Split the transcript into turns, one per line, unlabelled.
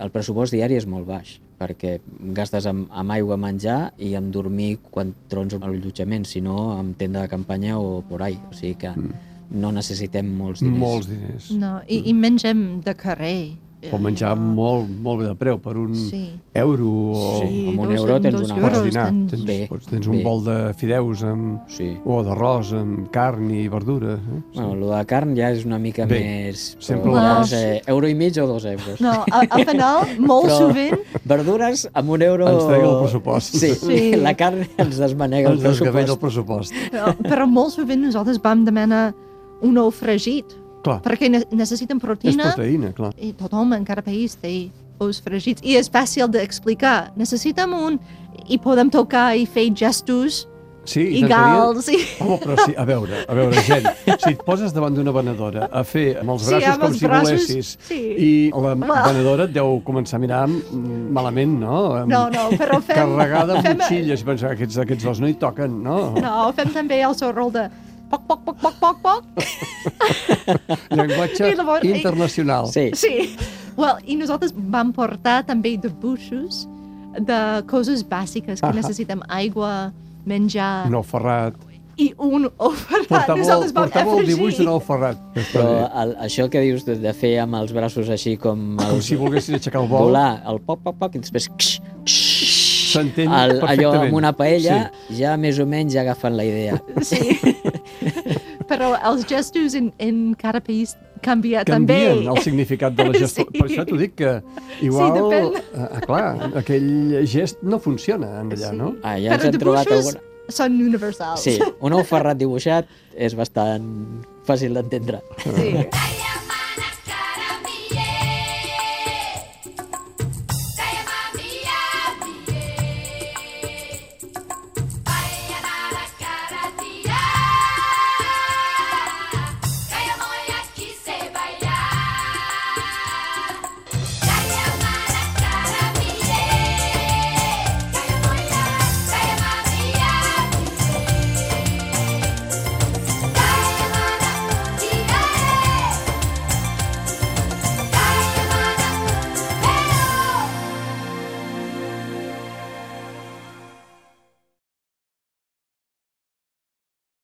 el pressupost diari és molt baix, perquè gastes amb, amb aigua, menjar i amb dormir quan trons l'allotjament, si no amb tenda de campanya o por ahí. O sigui que no necessitem molts diners.
Mm. Molts diners.
No, i,
Mm.
i mengem de carrer. Eh,
O menjar molt, molt bé de preu, per un
Sí.
euro o...
Sí, amb un
dos-
euro tens
dos
una
Pots
Euros,
dinar,
tens-
tens,
Bé,
pots, tens un
bé.
bol de fideus amb,
Sí.
o d'arròs amb carn i verdures. Eh? Sí.
Bueno, lo de carn ja és una mica
Bé,
més...
sempre
però,
ho
ja no
veus.
sé, euro i mig o dos euros.
No, a- al final, molt
Però-
sovint,
Verdures amb un euro...
Ens treu el pressupost.
Sí,
Sí.
la carn ens desmanega el
Ens desgavella el
pressupost.
pressupost.
però, però molt sovint nosaltres vam demanar un ou fregit,
Clar,
perquè ne necessiten
és
proteïna
proteïna, clar.
i tothom en cada país té ous fregits. I és fàcil d'explicar. Necessitem un... I podem tocar i fer gestos
Sí,
i,
te'n feien-
gals. I...
Home, però sí, a veure, a veure, gent, si et poses davant d'una venedora a fer amb els
Sí,
braços
amb
com
els
si
braços,
volessis,
sí.
i la
Home.
venedora et deu començar a mirar mm, malament, no? Amb-
No, no, però fem...
Carregada de
fem-
motxilles, pensar aquests, aquests dos no hi toquen, no?
No, fem també el sorrol de poc, poc, poc, poc, poc, poc.
Llenguatge
I llavors-
internacional.
Sí,
Sí. Well, I nosaltres vam portar també dibuixos de coses bàsiques que
Ahà.
necessitem. Aigua, menjar
Un ou ferrat.
i un oferat.
Portava,
Ah, nosaltres vam
portava el dibuix
afegir.
d'un ou ferrat.
però el, això que dius de, de fer amb els braços així com...
Com
Els,
si volguessin aixecar el vol.
volar el poc, poc, poc i després... Ksh, ksh,
S'entén
el, allò
perfectament.
amb una paella, ja més o menys ja agafen la idea.
Sí. Però els gestos en, en cada país canvia,
canvien
també.
el significat de la gesta.
Sí.
Per això t'ho dic que igual...
depèn.
Ah, clar, aquell gest no funciona en allà,
Sí.
no?
Ah, ja ens
Però
hem trobat
dibuixos
alguna...
són universals.
Sí, un ou ferrat dibuixat és bastant fàcil d'entendre.
sí.